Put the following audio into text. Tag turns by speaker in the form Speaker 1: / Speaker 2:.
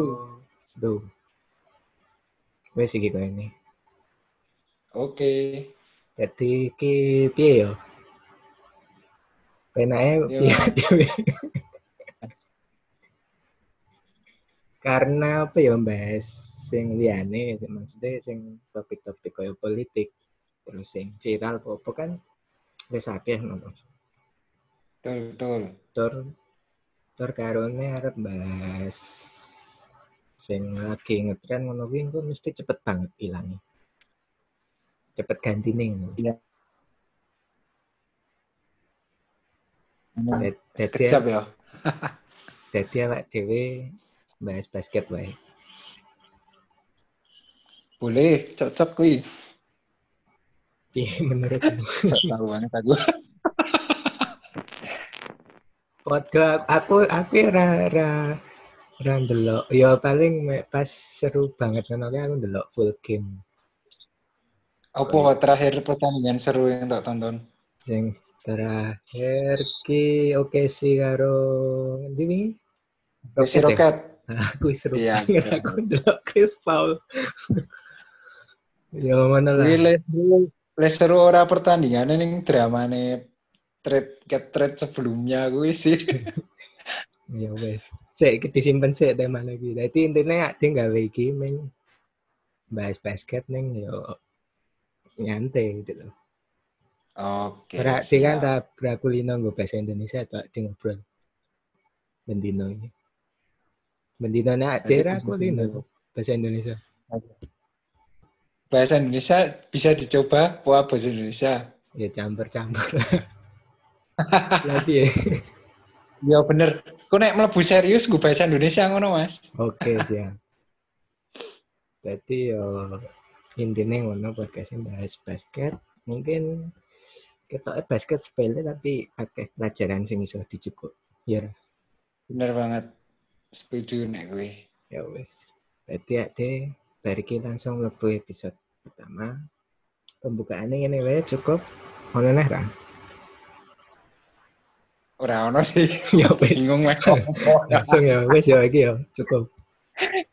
Speaker 1: Duh.
Speaker 2: Duh. Wes iki kene.
Speaker 1: Oke.
Speaker 2: Jadi iki piye yo? Penake
Speaker 1: Yo.
Speaker 2: piye dhewe? Karena apa ya Mbak? Sing liyane sing- maksudnya sing topik-topik koyo politik terus sing viral apa apa kan wis akeh ngono.
Speaker 1: Betul, betul.
Speaker 2: Tur tur karone arep bahas sing lagi ngetren ngono kuwi engko mesti cepet banget ilange. Cepet gantine ngono. Dad- Dadi
Speaker 1: Sekejap ya.
Speaker 2: dadi awak dhewe bahas basket wae.
Speaker 1: Boleh, cocok kuwi.
Speaker 2: Piye menurutmu?
Speaker 1: Cocok tahu banget aku.
Speaker 2: Padha aku aku ya ra ra ra ndelok. Ya paling me- pas seru banget ngono kuwi aku ndelok full game
Speaker 1: Apa terakhir pertandingan seru yang tak tonton?
Speaker 2: sing terakhir ki oke sih karo ngendi wingi?
Speaker 1: Si
Speaker 2: ya?
Speaker 1: Roket.
Speaker 2: aku seru
Speaker 1: Iya,
Speaker 2: banget
Speaker 1: iya.
Speaker 2: aku ndelok Chris Paul ya mana
Speaker 1: Kuwi
Speaker 2: lah
Speaker 1: le seru- le seru ora pertandingan ning dramane trade ke trade sebelumnya kuwi sih.
Speaker 2: ya wes sik iki disimpen sik tema lagi dadi intine ade gawe iki ming bahas basket ning yo nyantai gitu loh
Speaker 1: Oke.
Speaker 2: berarti kan
Speaker 1: siap.
Speaker 2: tak brakulino nggo bahasa Indonesia atau ade ngobrol bendino ini bendino nek ade
Speaker 1: Jadi,
Speaker 2: rakulino bahasa Indonesia
Speaker 1: bahasa Indonesia bisa dicoba poa bahasa Indonesia.
Speaker 2: ya campur-campur lagi ya
Speaker 1: Ya bener. Kok nek mlebu serius gue bahasa Indonesia ngono, Mas.
Speaker 2: Oke siap. Berarti yo intinya ngono podcastnya bahas basket. Mungkin kita eh, basket sepele tapi akeh pelajaran sing iso dicukup. Ya Ra?
Speaker 1: Bener banget. Setuju nek gue.
Speaker 2: ya wes. Berarti ade bari ki langsung mlebu episode pertama. Pembukaannya ini wae cukup. Ono neh ra?
Speaker 1: Ora ono sih.
Speaker 2: Ya wes.
Speaker 1: Bingung mek.
Speaker 2: Langsung ya wes ya iki ya cukup.